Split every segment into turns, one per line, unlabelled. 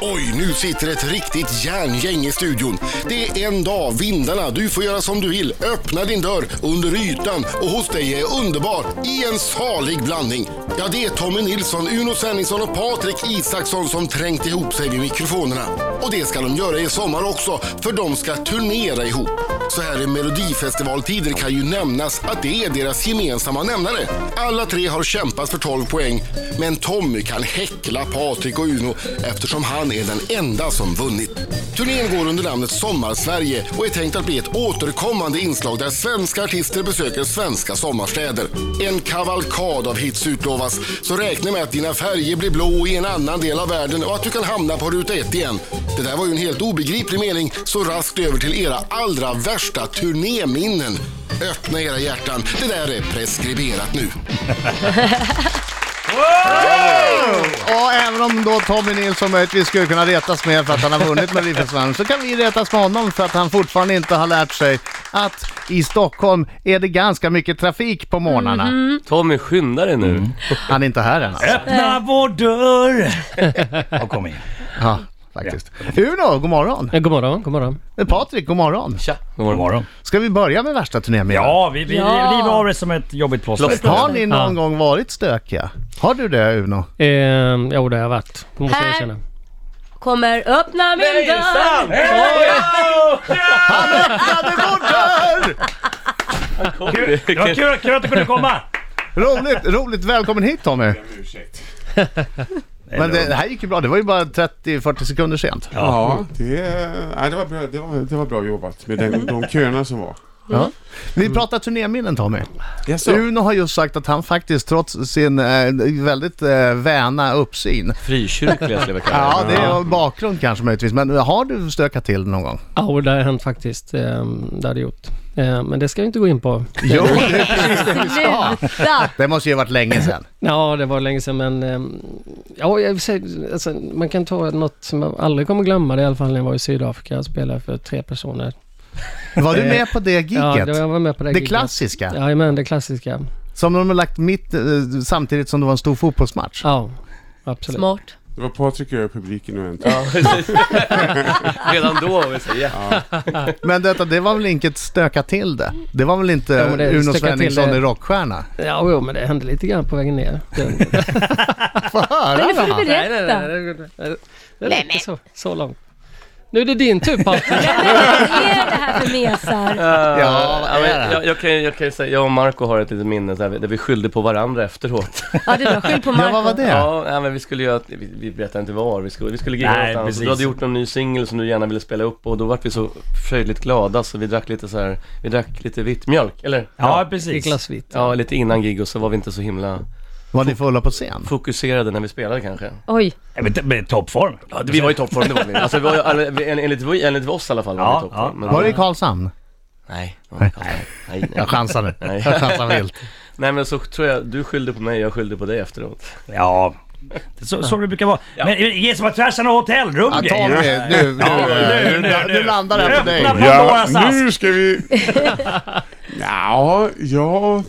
Oj, nu sitter ett riktigt järngäng i studion. Det är en dag, vindarna, du får göra som du vill. Öppna din dörr under ytan och hos dig är underbart i en salig blandning. Ja, det är Tommy Nilsson, Uno Svenningsson och Patrik Isaksson som trängt ihop sig vid mikrofonerna. Och det ska de göra i sommar också, för de ska turnera ihop. Så här i Melodifestivaltider kan ju nämnas att det är deras gemensamma nämnare. Alla tre har kämpat för 12 poäng, men Tommy kan häckla Patrik och Uno eftersom han är den enda som vunnit. Turnén går under namnet Sommarsverige och är tänkt att bli ett återkommande inslag där svenska artister besöker svenska sommarstäder. En kavalkad av hits utlovas, så räkna med att dina färger blir blå i en annan del av världen och att du kan hamna på ruta ett igen. Det där var ju en helt obegriplig mening, så raskt över till era allra värsta turnéminnen. Öppna era hjärtan, det där är preskriberat nu.
Och även om då Tommy Nilsson möjligtvis skulle kunna retas med för att han har vunnit Melodifestivalen så kan vi retas med honom för att han fortfarande inte har lärt sig att i Stockholm är det ganska mycket trafik på morgnarna.
Mhm.
Tommy, skynda dig nu.
Han är inte här än alltså.
Eh.
Öppna vår dörr! Ja, kom in.
Ja, faktiskt. Uno, god morgon.
Eh, God morgon, god morgon.
Eh, Patrik, god morgon.
Tja, god
God
morgon.
morgon.
Ska vi börja med värsta turnén? med?
Ja, vi, vi
Ja.
river av det som ett jobbigt plåster.
Plåster.
Har ni någon
Ja.
gång varit stökiga? Har du det Uno?
Eh, jo, det har jag varit. Det måste jag
Här.
erkänna.
Kommer öppna min dörr.
Kul- Det var kul, kul att du kunde komma!
Roligt, roligt. Välkommen hit Tommy. Men det, det här gick ju bra. Det var ju bara 30-40 sekunder sent.
Ja, det, nej, det, var bra, det, var, det var bra jobbat med den, de köerna som var.
Ja. Vi pratar turnéminnen Tommy.
Jaså?
Uno har just sagt att han faktiskt trots sin eh, väldigt eh, väna uppsyn,
Frikyrkliga skulle jag kalla
ja det är bakgrund kanske möjligtvis, men har du stökat till någon gång?
Ja, och det har hänt faktiskt. Eh, det har det gjort. Eh, men det ska vi inte gå in på.
Jo, det är precis det vi ska.
Sluta!
Det måste ju ha varit länge sedan.
Ja, det var länge sedan men... Eh, ja, jag vill säga, alltså, man kan ta något som jag aldrig kommer glömma. Det är i alla fall när jag var i Sydafrika och spelade för tre personer.
Var du med på det giget?
Eh, Ja, det var, jag var med på det
det
giget.
klassiska?
Jajamän, det klassiska.
Som de har lagt mitt eh, samtidigt som det var en stor fotbollsmatch?
Ja, absolut.
Smart.
Det var Patrik och jag i publiken och en till.
det. Redan då var vi så, ja.
Men detta, det var väl inget stöka till det? Det var väl inte
Ja, men det-
Uno
stöka till
Svenningsson
det-
i rockstjärna?
Ja, jo, men det hände lite grann på vägen ner. Det,
Få höra
Men nu får
då!
du berätta.
nej, nej, nej. Det är inte så, så långt. Nu är det din tur Patrik.
Vad är det här för mesar?
Ja, vad är det?
men jag, jag, kan, ju- jag kan ju säga, jag och Marco har ett litet minne så här, där vi skyllde på varandra efteråt.
Ja, det är bra. Skyll på
Ja,
Marco.
vad var det?
Ja, nej, men vi skulle göra, vi, vi berättade inte var, vi skulle, vi skulle gigga
Nej,
någonstans.
precis.
Du hade gjort någon ny singel som du gärna ville spela upp och då vart vi så fröjdligt glada så vi drack lite så här, vi drack lite vitt mjölk, eller?
Ja,
I
precis.
glas vitt.
Ja, lite innan gig och så var vi inte så himla
Var ni fulla på scen?
fokuserade när vi spelade kanske.
Oj.
Ja, men t- men Toppform.
Ja, vi var i toppform, det var vi. Alltså, vi var, ju alla- vi- en- enligt, vi- enligt oss i alla fall var
Ja,
vi i toppform.
ja.
men-
Var det i Karlshamn?
Nej, nej, nej, nej.
Jag chansade. Jag chansade vilt.
nej men så tror jag, du skyllde på mig, jag skyllde på dig efteråt.
Ja, det är så, så det brukar vara. Men ge som att tvärs några hotellrum
Ja,
grejer.
Tommy, nu, nu, nu, nu, nu landar det här på dig.
Öppna Pandoras
nu
ask.
ska vi... ja, ja,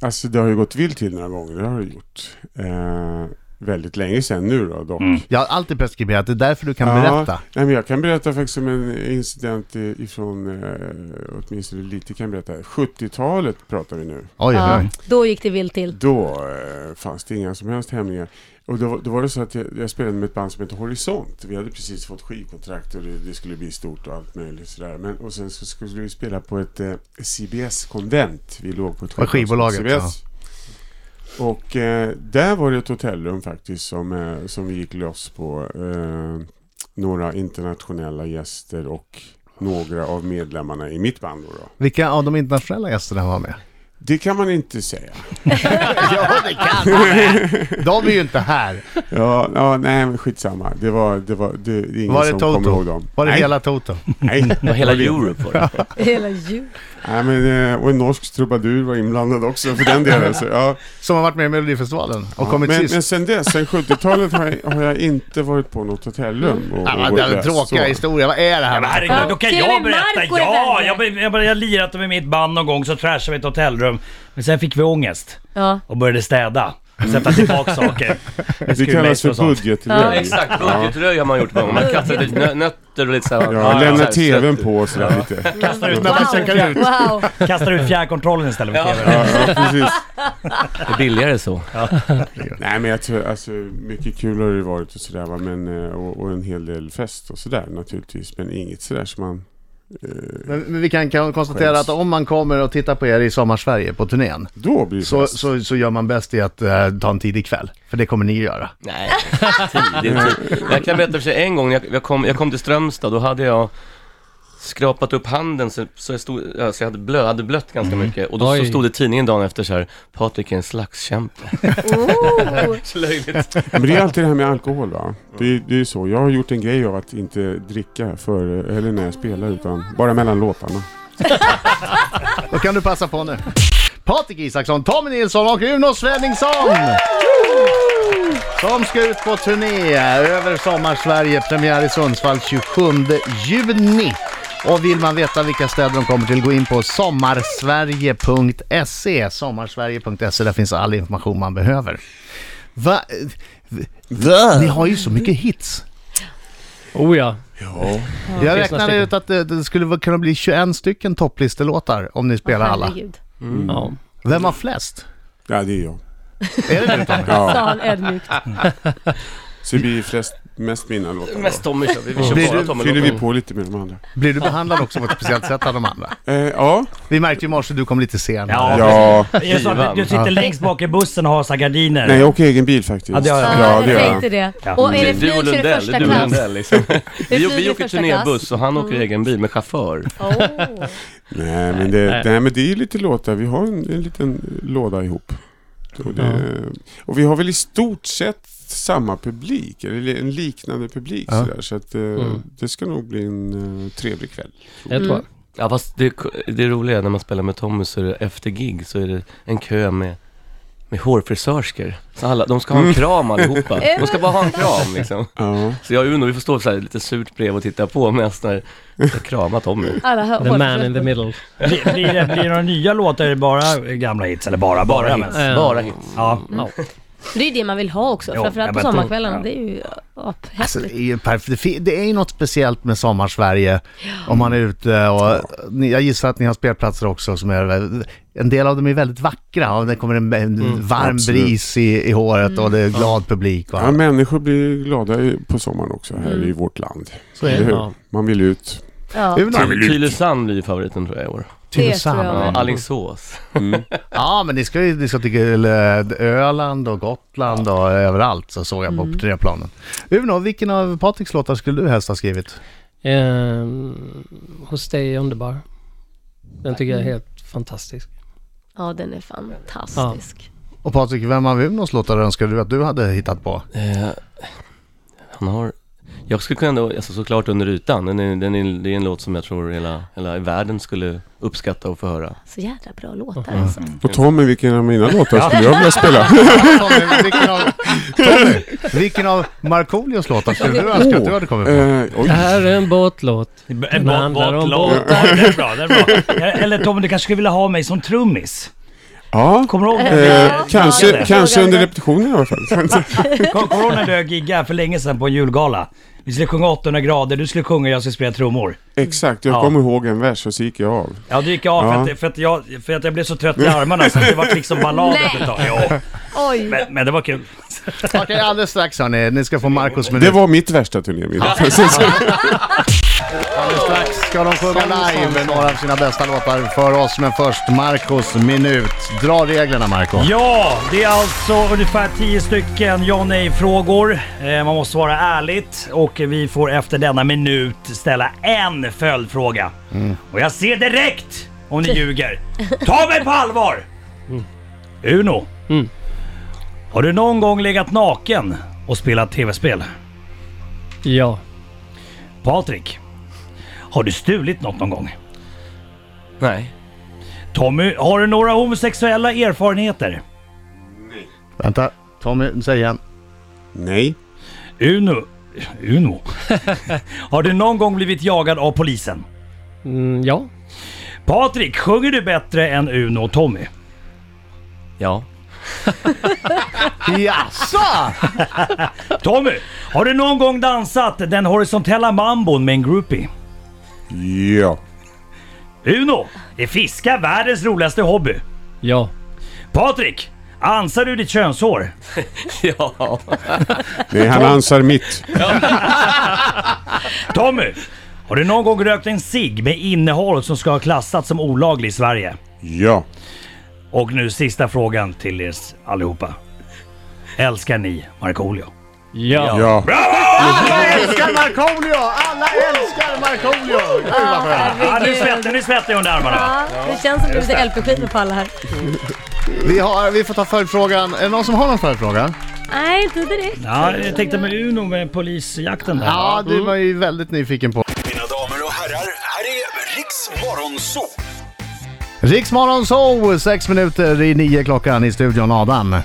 alltså det har ju gått vilt till några gånger, det har det gjort. Eh, väldigt länge sedan nu då dock.
Jag har alltid preskriberat, det är därför du Mm. kan berätta.
nej, men jag kan berätta faktiskt om en incident i- ifrån, eh, åtminstone lite kan jag berätta, 70-talet pratar vi nu.
Oj, oj,
Ja,
oj.
då gick det vilt till.
Då eh, fanns det inga som helst hämningar. Och då, då var det så att jag, jag spelade med ett band som heter Horisont. Vi hade precis fått skivkontrakt och det, det skulle bli stort och allt möjligt sådär. Men, och sen så skulle vi spela på ett eh, CBS-konvent. Vi låg på ett
På skivbolaget,
CBS. Och eh, där var det ett hotellrum faktiskt som, eh, som vi gick loss på. Eh, några internationella gäster och några av medlemmarna i mitt band då. då.
Vilka av de internationella gästerna var med?
Det kan man inte säga.
Ja, det kan man. De är ju inte här.
Ja, ja, nej men skitsamma. Det var, det var, det, det är ingen
Var det
som kommer ihåg
Toto?
dem.
Var det
nej,
hela Toto?
Nej.
Det var hela Europe var det.
Hela jul.
nej men, eh, och en norsk trubadur var inblandad också för den delen. Så, ja.
Som har varit med i Melodifestivalen och
Ja,
kommit
men,
sist.
men sen dess, sen 70-talet har jag, har jag inte varit på något hotellrum. Och,
Ja, men
och
det är en
gått
tråkiga
så.
historia, vad är det
Ja, men
här?
herregud, då kan
Till och
jag
med
berätta.
Marco är
Ja,
värre.
jag, jag, jag, jag lirat med mitt band någon gång så trashade vi ett hotellrum. Men sen fick vi ångest
Ja.
och började städa. Sätta tillbaka saker.
Det kallas för budgetröj.
Ja, exakt. Budgetröj har man gjort många gånger. Man kastar ut nö- nötter och lite så här.
Ja, lämna
så här,
tvn
så-
på och sådär lite.
Kastar ut,
När man checkar ut.
Wow.
kastar ut fjärrkontrollen istället för
Ja.
tvn.
Ja, ja, precis.
Det är billigare så.
Nej men jag tror, alltså mycket kul har det varit och sådär va, men eh, och, och en hel del fest och sådär naturligtvis. Men inget sådär som man... Eh,
Men, men vi kan, kan konstatera
Skäms.
att om man kommer och tittar på er i Sommarsverige på turnén
då blir det
så,
fest.
så, så gör man bäst i att eh, ta en tidig kväll. För det kommer ni att göra.
Nej, tidigt. Jag kan berätta för sig en gång, när jag, jag, kom, jag kom till Strömstad, då hade jag skrapat upp handen så, så, jag, stod, ja, så jag hade, blö, hade blött ganska mycket. Och då så
Oj.
stod det i tidningen dagen efter så här, Patrik är en slagskämpe.
Oh.
Så löjligt.
Men det är alltid det här med alkohol va. Det, är- det är ju så. Jag har gjort en grej av att inte dricka före eller när jag spelar utan bara mellan låtarna.
Då kan du passa på nu. Patrik Isaksson, Tommy Nilsson och Uno Svenningsson! Som ska ut på turné över Sommarsverige. Premiär i Sundsvall 27 juni. Och vill man veta vilka städer de kommer till, gå in på sommarsverige.se. Sommarsverige.se, där finns all information man behöver. Va? Ni har ju så mycket hits.
Oh ja.
Jag
finns några
räknade
stycken.
ut att det, det skulle kunna bli 21 stycken topplistelåtar om ni spelar alla.
Herregud.
Mm.
ja.
Vem har flest?
Ja det är jag.
Är det du
Sa
Tommy?
Ja.
han ödmjukt.
Så det blir flest, mest mina låtar. då.
Mest Tommy kör vi, vi kör
Blir
bara
du-
Tommy.
Fyller vi på lite med de andra.
Blir du behandlad också på ett speciellt sätt av de andra?
Eh, ja.
Vi märkte ju i morse att du kom lite senare.
Ja.
Ja.
Är det så att du sitter längst bak i bussen och har så här gardiner?
Nej jag åker egen bil faktiskt.
Ja, det har jag.
Ja, det
jag
gör
tänkte
jag.
det. Och är det
Du
flyg
och
så är det
Lundell, det
första
är du och
klass.
Lundell liksom. Vi,
flyger
vi åker
första
turnébuss
klass. Mm.
och han åker i egen bil med chaufför.
Åh.
Nej men det, nej, men det är ju lite låtar. Vi har en, en liten låda ihop. Och, det, och vi har väl i stort sett samma publik, eller en liknande publik
Ja.
sådär. Så att eh, det ska nog bli en eh, trevlig kväll.
Jag tror
Ja fast det, det roliga är när man spelar med Tommy så är det efter gig så är det en kö med, med hårfrisörskor. Så alla, de ska ha en kram allihopa. De ska bara ha en kram liksom.
Ja.
Så jag och Uno, vi får stå så här lite surt bredvid och titta på medan när jag kramar Tommy.
Alla hör
The man in the middle.
Blir, blir, det, blir det några nya låtar eller bara gamla hits? Eller bara, bara, hits?
Ja.
Bara hits.
Ja.
Det är ju det man vill ha också.
Jo,
Framförallt
jag
på
vet.
sommarkvällarna.
Ja.
Det är ju
Alltså,
aphäftigt.
det, är ju perf- det fi- det är ju något speciellt med Sommarsverige om man är ute och ni, jag gissar att ni har spelplatser också som är vä- en del av dem är väldigt vackra och det kommer en, en varm
Mm. absolut. Mm.
bris i, i håret och det är glad publik.
ja,
Va?
människor blir glada i- på sommaren också här i vårt land.
Så är
Eller
det.
hur?
ja.
Man vill ut.
Ja.
Uno,
Tylösand blir ju favoriten tror jag i år.
Det tror jag
Tylösand.
Ja,
med.
Alingsås.
Mm. Ja, men ni ska ju ni ska till eh, Öland och Gotland och överallt så såg jag
Mm.
på turnéplanen. Uno, vilken av Patriks låtar skulle du helst ha skrivit?
Ehm, hos dig är underbar. Den tycker jag är helt fantastisk.
ja, den är fantastisk.
Och Patrik, vem av Unos låtar önskar du att du hade hittat på?
Eh, han har... Jag skulle kunna ändå, alltså såklart under ytan, den är, den är, det är en låt som jag tror hela, hela världen skulle uppskatta och få höra.
Så jädra bra låtar alltså.
Och Tommy, vilken av mina låtar skulle jag vilja spela?
Tommy, vilken av, Tommy, vilken av Markoolios låtar skulle du önska att du hade kommit på?
eh, oj.
Det här är en båtlåt.
En
Den
båt-
handlar om
båtlåt. Ja, Det är bra, det är bra. Eh, Eller Tommy, du kanske skulle vilja ha mig som trummis?
Ja,
Kommer du ihåg när-
eh,
Ja, ja,
kanske,
det.
kanske under repetitionen i alla fall.
Kom- Kommer du ihåg när du giggade för länge sedan på en julgala? Vi skulle sjunga 800 grader, du skulle sjunga och jag skulle spela trummor.
Exakt, jag
Ja.
kommer ihåg en vers och så gick jag av.
Ja, du gick jag av
Ja.
för, att, för, att jag, för att jag blev så trött i armarna så att det var liksom ballad
Nej.
efter ett tag. Jo,
Oj.
men, men det var kul.
Okej, alldeles strax hörni. Ni ska få Marcos minut.
Det var mitt värsta turnéminne.
Alldeles strax ska de sjunga live några av sina bästa låtar för oss. Men först Marcos minut. Dra reglerna Marco.
Ja, det är alltså ungefär 10 stycken ja nej-frågor. Eh, man måste svara ärligt och vi får efter denna minut ställa en följdfråga. Och jag ser direkt om ni ljuger. Ta mig på allvar! Uno. Har du någon gång legat naken och spelat tv-spel?
Ja.
Patrik. Har du stulit något någon gång?
Nej.
Tommy, har du några homosexuella erfarenheter?
Vänta, Tommy, säg igen.
Nej.
Uno... Uno? har du någon gång blivit jagad av polisen?
Mm, ja.
Patrik, sjunger du bättre än Uno och Tommy?
Ja.
Jaså?
Tommy, har du någon gång dansat den horisontella mambon med en groupie?
Ja.
Uno, är fiska världens roligaste hobby?
Ja.
Patrik, ansar du ditt könshår?
Ja.
Nej, han ansar mitt.
Tommy, har du någon gång rökt en cigg med innehåll som ska ha klassats som olaglig i Sverige?
Ja.
Och nu sista frågan till er allihopa. Älskar ni Markoolio?
Ja.
Ja.
Alla älskar Markoolio! Alla älskar Markoolio! Gud, vad skönt.
Ah, nu svettar nu svettar jag under armarna.
Ja, det känns som du är LP-skiva på alla här.
Vi, har, vi får ta följdfrågan. Är det någon som har någon följdfråga?
Nej, inte direkt.
Ja, jag tänkte med Uno med polisjakten där.
Ja, det var ju väldigt nyfiken på.
Mina damer och herrar, här är Riks Morgonzoo!
Riksmorgon Zoo, sex minuter i nio klockan i studion. Adam,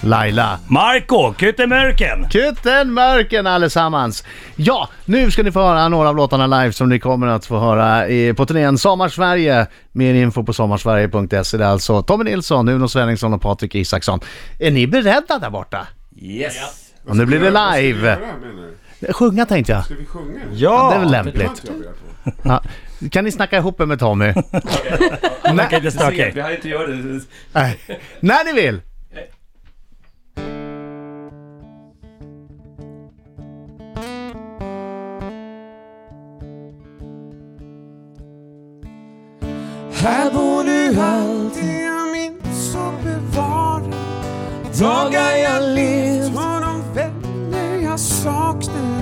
Laila,
Marco, Kyttemörken!
Kutten Mörken allesammans. Ja, nu ska ni få höra några av låtarna live som ni kommer att få höra i, på turnén Sommarsverige. Mer info på sommarsverige.se. Det är alltså Tommy Nilsson, Uno Svenningsson och Patrik Isaksson. Är ni beredda där borta?
Yes.
Och nu blir det
Vad ska vi
live.
göra, menar du?
Sjunga tänkte jag.
Ska vi sjunga?
Det är väl
Det har
lämpligt.
inte jag velat på.
Ja. Kan ni snacka ihop er med Tommy?
Verkar inte stökig.
Vi har inte gjort det.
Nej. När ni vill!
Här bor nu allting jag minns och bevarar Dagar jag levt och de vänner jag saknar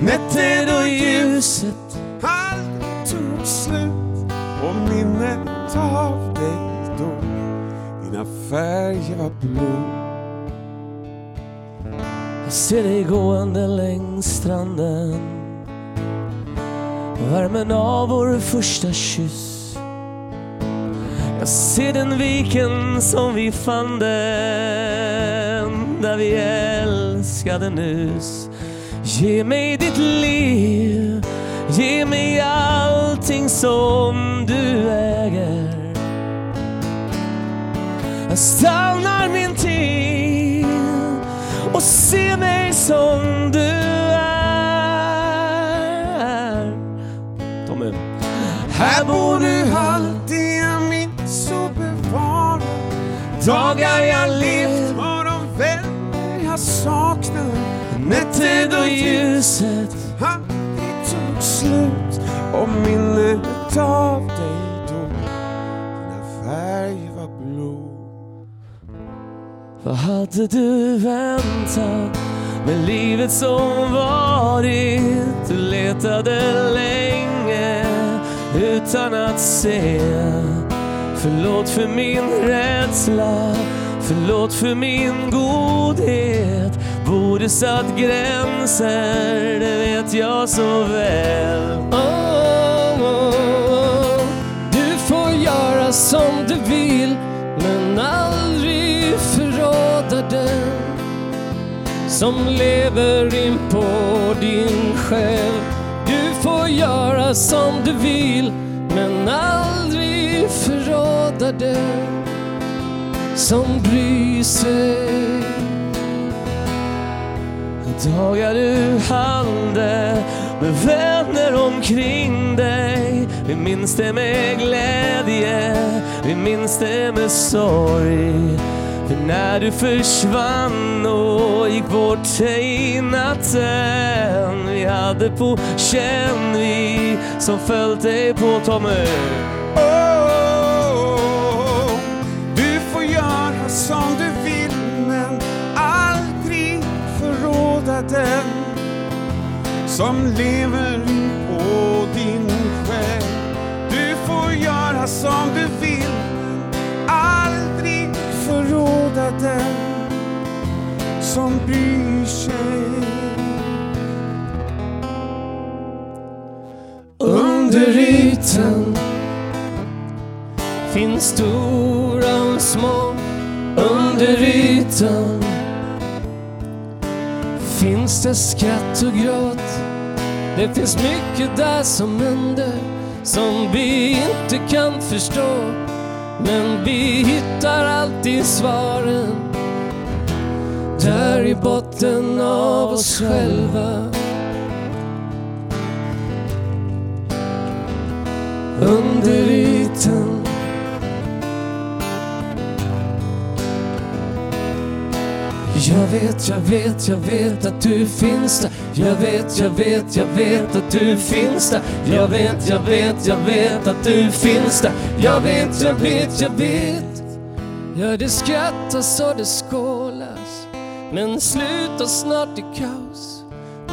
Nätter då ljuset aldrig tog slut och minnet av dig då dina färger var blå
Jag ser dig gående längs stranden Värmen av vår första kyss Jag ser den viken som vi fann den Där vi älskade nyss Ge mig ditt liv Ge mig allting som du äger Jag stannar min tid och se mig som du är Tommy.
Här bor nu allt det jag minns och bevarar Dagar jag levt och de vänner jag saknar Nätter då ljuset aldrig tog slut och minnet av dig då dina färger var blå
Vad hade du väntat med livet som varit? Du letade länge utan att se. Förlåt för min rädsla, förlåt för min godhet. Borde satt gränser, det vet jag så väl. Oh, oh, oh. Du får göra som du vill men aldrig förråda den som lever in på din själ. Du får göra som du vill men aldrig förråda den som bryr sig. Dagar du hade med vänner omkring dig Vi minns det med glädje, vi minns det med sorg För när du försvann och gick bort sig i natten Vi hade på känn vi som följt dig på Tommy
Oh, du får göra som du vill men aldrig förråda den som lever in på din själ. Du får göra som du vill men aldrig förråda den som bryr sig.
Under ytan finns stora och små. Under ytan finns det skratt och gråt. Det finns mycket där som händer som vi inte kan förstå. Men vi hittar alltid svaren
där i botten av oss själva. Under ytan. Jag vet, jag vet, jag vet att du finns där. Jag vet, jag vet, jag vet att du finns där. Jag vet, jag vet, jag vet att du finns där. Jag vet, jag vet, jag vet. Ja, det skrattas och det skålas. Men slutar snart i kaos.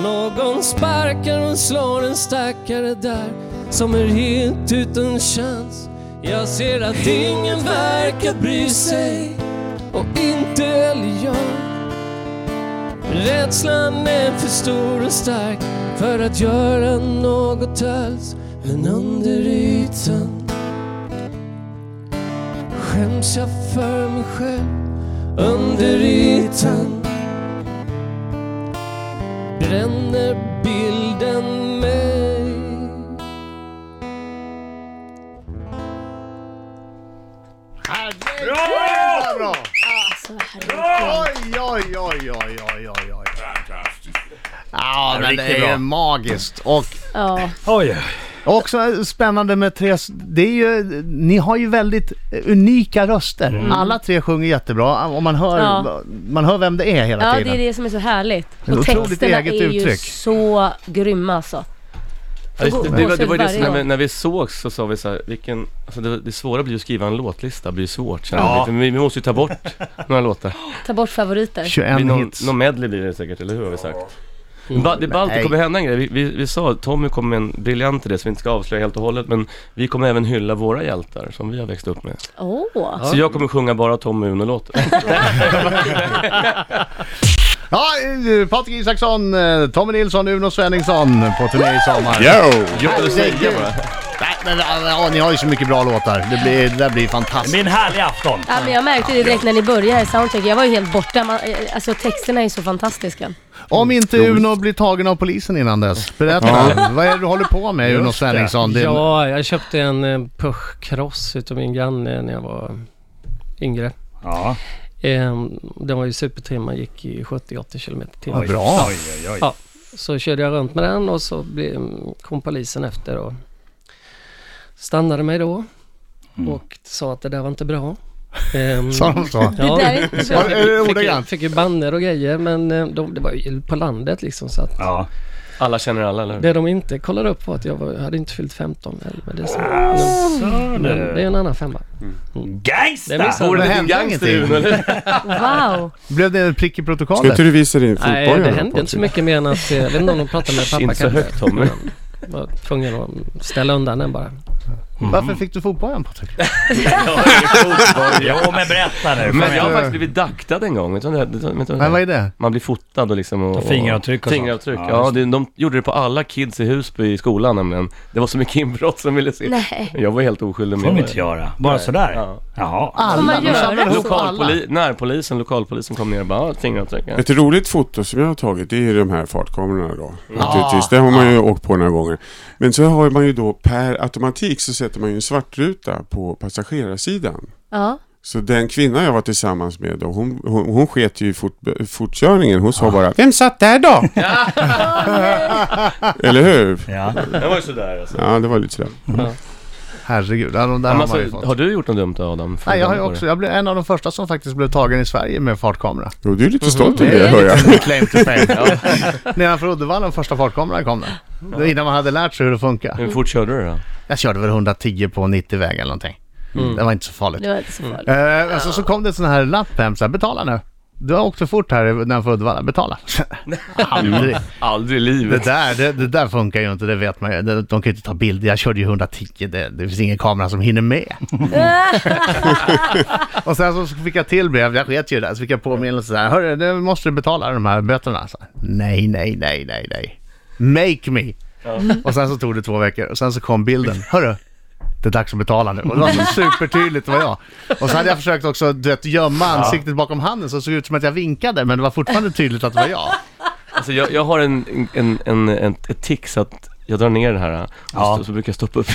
Någon sparkar och slår en stackare där som är helt utan chans. Jag ser att ingen verkar bry sig och inte heller jag. Rädslan är för stor och stark för att göra något alls. Men under ytan skäms jag för mig själv. Under ytan bränner bilden mig.
Herregud
Bra!
vad bra!
Alltså, herregud.
Oj, oj, oj, oj, oj, oj, oj. Ja, men det är ju magiskt. Och
Ja.
Oj,
också spännande med tre... Det är ju, ni har ju väldigt unika röster.
Mm.
Alla tre sjunger jättebra. Och man hör,
Ja.
man hör vem det är hela
ja, det
tiden.
är det som är så härligt.
Det är
Och
otroligt
texterna
eget
är ju
uttryck.
så grymma alltså.
Ja, just det,
Gå-
det, var, det
gåshud
var ju det som
varje
när vi,
gång.
när vi sågs så sa vi så här, vilken, alltså det, det svåra blir ju att skriva en låtlista, blir ju svårt känner
Ja.
vi. För vi, vi måste ju ta bort några låtar.
Ta bort favoriter.
21
Blir någon,
hits.
någon medley blir det säkert, eller hur har vi sagt? Ba, det är ballt, det
Nej.
kommer hända en grej. Vi, vi, vi sa, Tommy kom med en briljant idé som vi inte ska avslöja helt och hållet, men vi kommer även hylla våra hjältar som vi har växt upp med.
Åh.
Så jag kommer sjunga bara Tommy Uno-låtar.
Ja, eh, Patrik Isaksson, eh, Tommy Nilsson, Uno Svenningsson på turné i sommar.
Yo!
Jag vill säga bara.
Nej, men, ja, ni har ju så mycket bra låtar. Det, blir, det där blir
det blir
fantastiskt.
en härlig afton.
Ja, men jag märkte det direkt när ni började här i soundcheck. Jag var ju helt borta. Man, eh, alltså texterna är så fantastiska.
Om inte Uno blir tagen av polisen innan dess, berätta. Vad är det du håller på med Uno
Just det.
Svenningsson? Det,
Ja, jag köpte en eh, Puch Cross utav min granne när jag var yngre.
Ja.
Eh, Den var ju supertrimma, gick i 70-80 km
Vad
timme.
bra.
Oj, oj, oj.
Ja. Så körde jag runt med den och så blev- kom polisen efter och stannade mig då och sa att det där var inte bra. Ehm,
Sa de så?
Ja,
Det där är inte
så jag
bra.
fick-
Är det
fick-
ordagrant?
Fick ju banner och grejer men eh, de, det var ju på landet liksom så att
Ja.
Alla känner alla, eller hur?
det de inte kollade upp var att jag var, hade inte fyllt 15 eller men det är så. Men- men Det är en annan femma. Alltså. Det
Gangsta!
missade
Vore det din
hände
gangster
ingenting.
Uno, eller?
Wow!
Blev det en prick i
Ska
protokollet?
inte du visa din fotboll?
Nej, det hände inte så mycket mer än att, eh, jag vet inte om de pratade med pappa
Inte så
kanske.
högt Tommy.
Jag var tvungen att ställa undan den bara.
Varför fick du fotbollen Patrik?
Jo men berätta nu.
Men jag har
du-
faktiskt blivit daktad en gång, vet du vad det- vet du vad det
Nej, vad är det?
Man blir fotad och liksom och,
Och fingeravtryck och sånt.
Fingeravtryck,
Ja,
ja.
just
det, de gjorde det på alla kids i Husby i skolan nämligen. Det var så mycket inbrott som ville se.
Nej.
Jag var helt oskyldig
Det får man
med.
inte göra. Bara sådär?
Ja.
Jaha.
Får
Alla,
man
de samlar
göra
ihop
så?
alla.
Lokalpoli- närpolisen, lokalpolisen kom ner och bara, ja, fingeravtryck. Ja.
Ett roligt foto som jag har tagit det är ju de här fartkamerorna då.
Ah.
Naturligtvis, det har man ju åkt på några gånger. Men så har man ju då per automatik så sätter man ju en svartruta på passagerarsidan.
Ja.
Så den kvinna jag var tillsammans med då, hon, hon, hon sket ju i fort, fortkörningen. Hon
Ah.
sa bara Vem satt där då? Eller hur?
Ja.
Det var ju sådär alltså.
Ja, det var lite sådär.
Herregud, ja, de där
Men
har man ju
alltså, har
fått.
du gjort något dumt Adam? Får
Nej, jag har ju
på
också,
det?
jag blev en av de första som faktiskt blev tagen i Sverige med fartkamera.
Jo, du är lite stolt över
Mm.
Det
det
är
hör jag.
lite claim to fame. ja. Nedanför Uddevalla den första fartkameran kom där. Det var Innan man hade lärt sig hur det funkar.
Hur fort körde du då?
Jag körde väl 110 på 90-väg eller någonting. Det var inte så farligt.
Det var inte så farligt.
Eh, alltså, så kom det en sån här lapp hem, så här, betala nu. Du har åkt för fort här nedanför Uddevalla, betala. Aldrig.
Aldrig i
Det
livet.
där, det, det där funkar ju inte, det vet man ju. De, de kan ju inte ta bilder. Jag körde ju 110, det, det finns ingen kamera som hinner med. och sen så fick jag till brev, jag sket ju där, så fick jag påminnelse där. Hörru, nu måste du betala de här böterna. Så, här, nej, nej, nej, nej, nej. Make me! Och sen så tog det två veckor och sen så kom bilden. Hörru, det är dags att betala nu. Och det var så supertydligt, det var jag. Och så hade jag försökt också du vet, gömma ansiktet bakom handen så det såg ut som att jag vinkade men det var fortfarande tydligt att det var jag.
Alltså jag, jag har en, en, en, en, ett tics att jag drar ner det här och
Ja.
så, så brukar jag stoppa upp.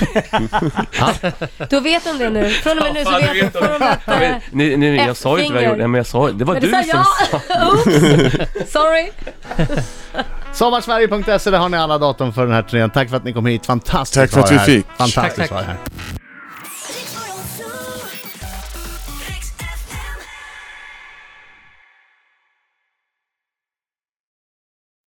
Då vet de det nu. Från och med nu så
Fan,
vet
vet
de. Från och med att,
Ja, men,
eh,
ni, ni, jag sa ju inte vad
F-finger.
jag gjorde, Nej, men jag sa, det var
men
du
det sa
som
jag. Oops! Sorry.
E, Sommarsverige.se, där har ni alla datum för den här turnén. Tack för att ni kom hit. Fantastiskt
Tack för
att ha
att
er
vi
här.
fick.
Fantastiskt att ha er här.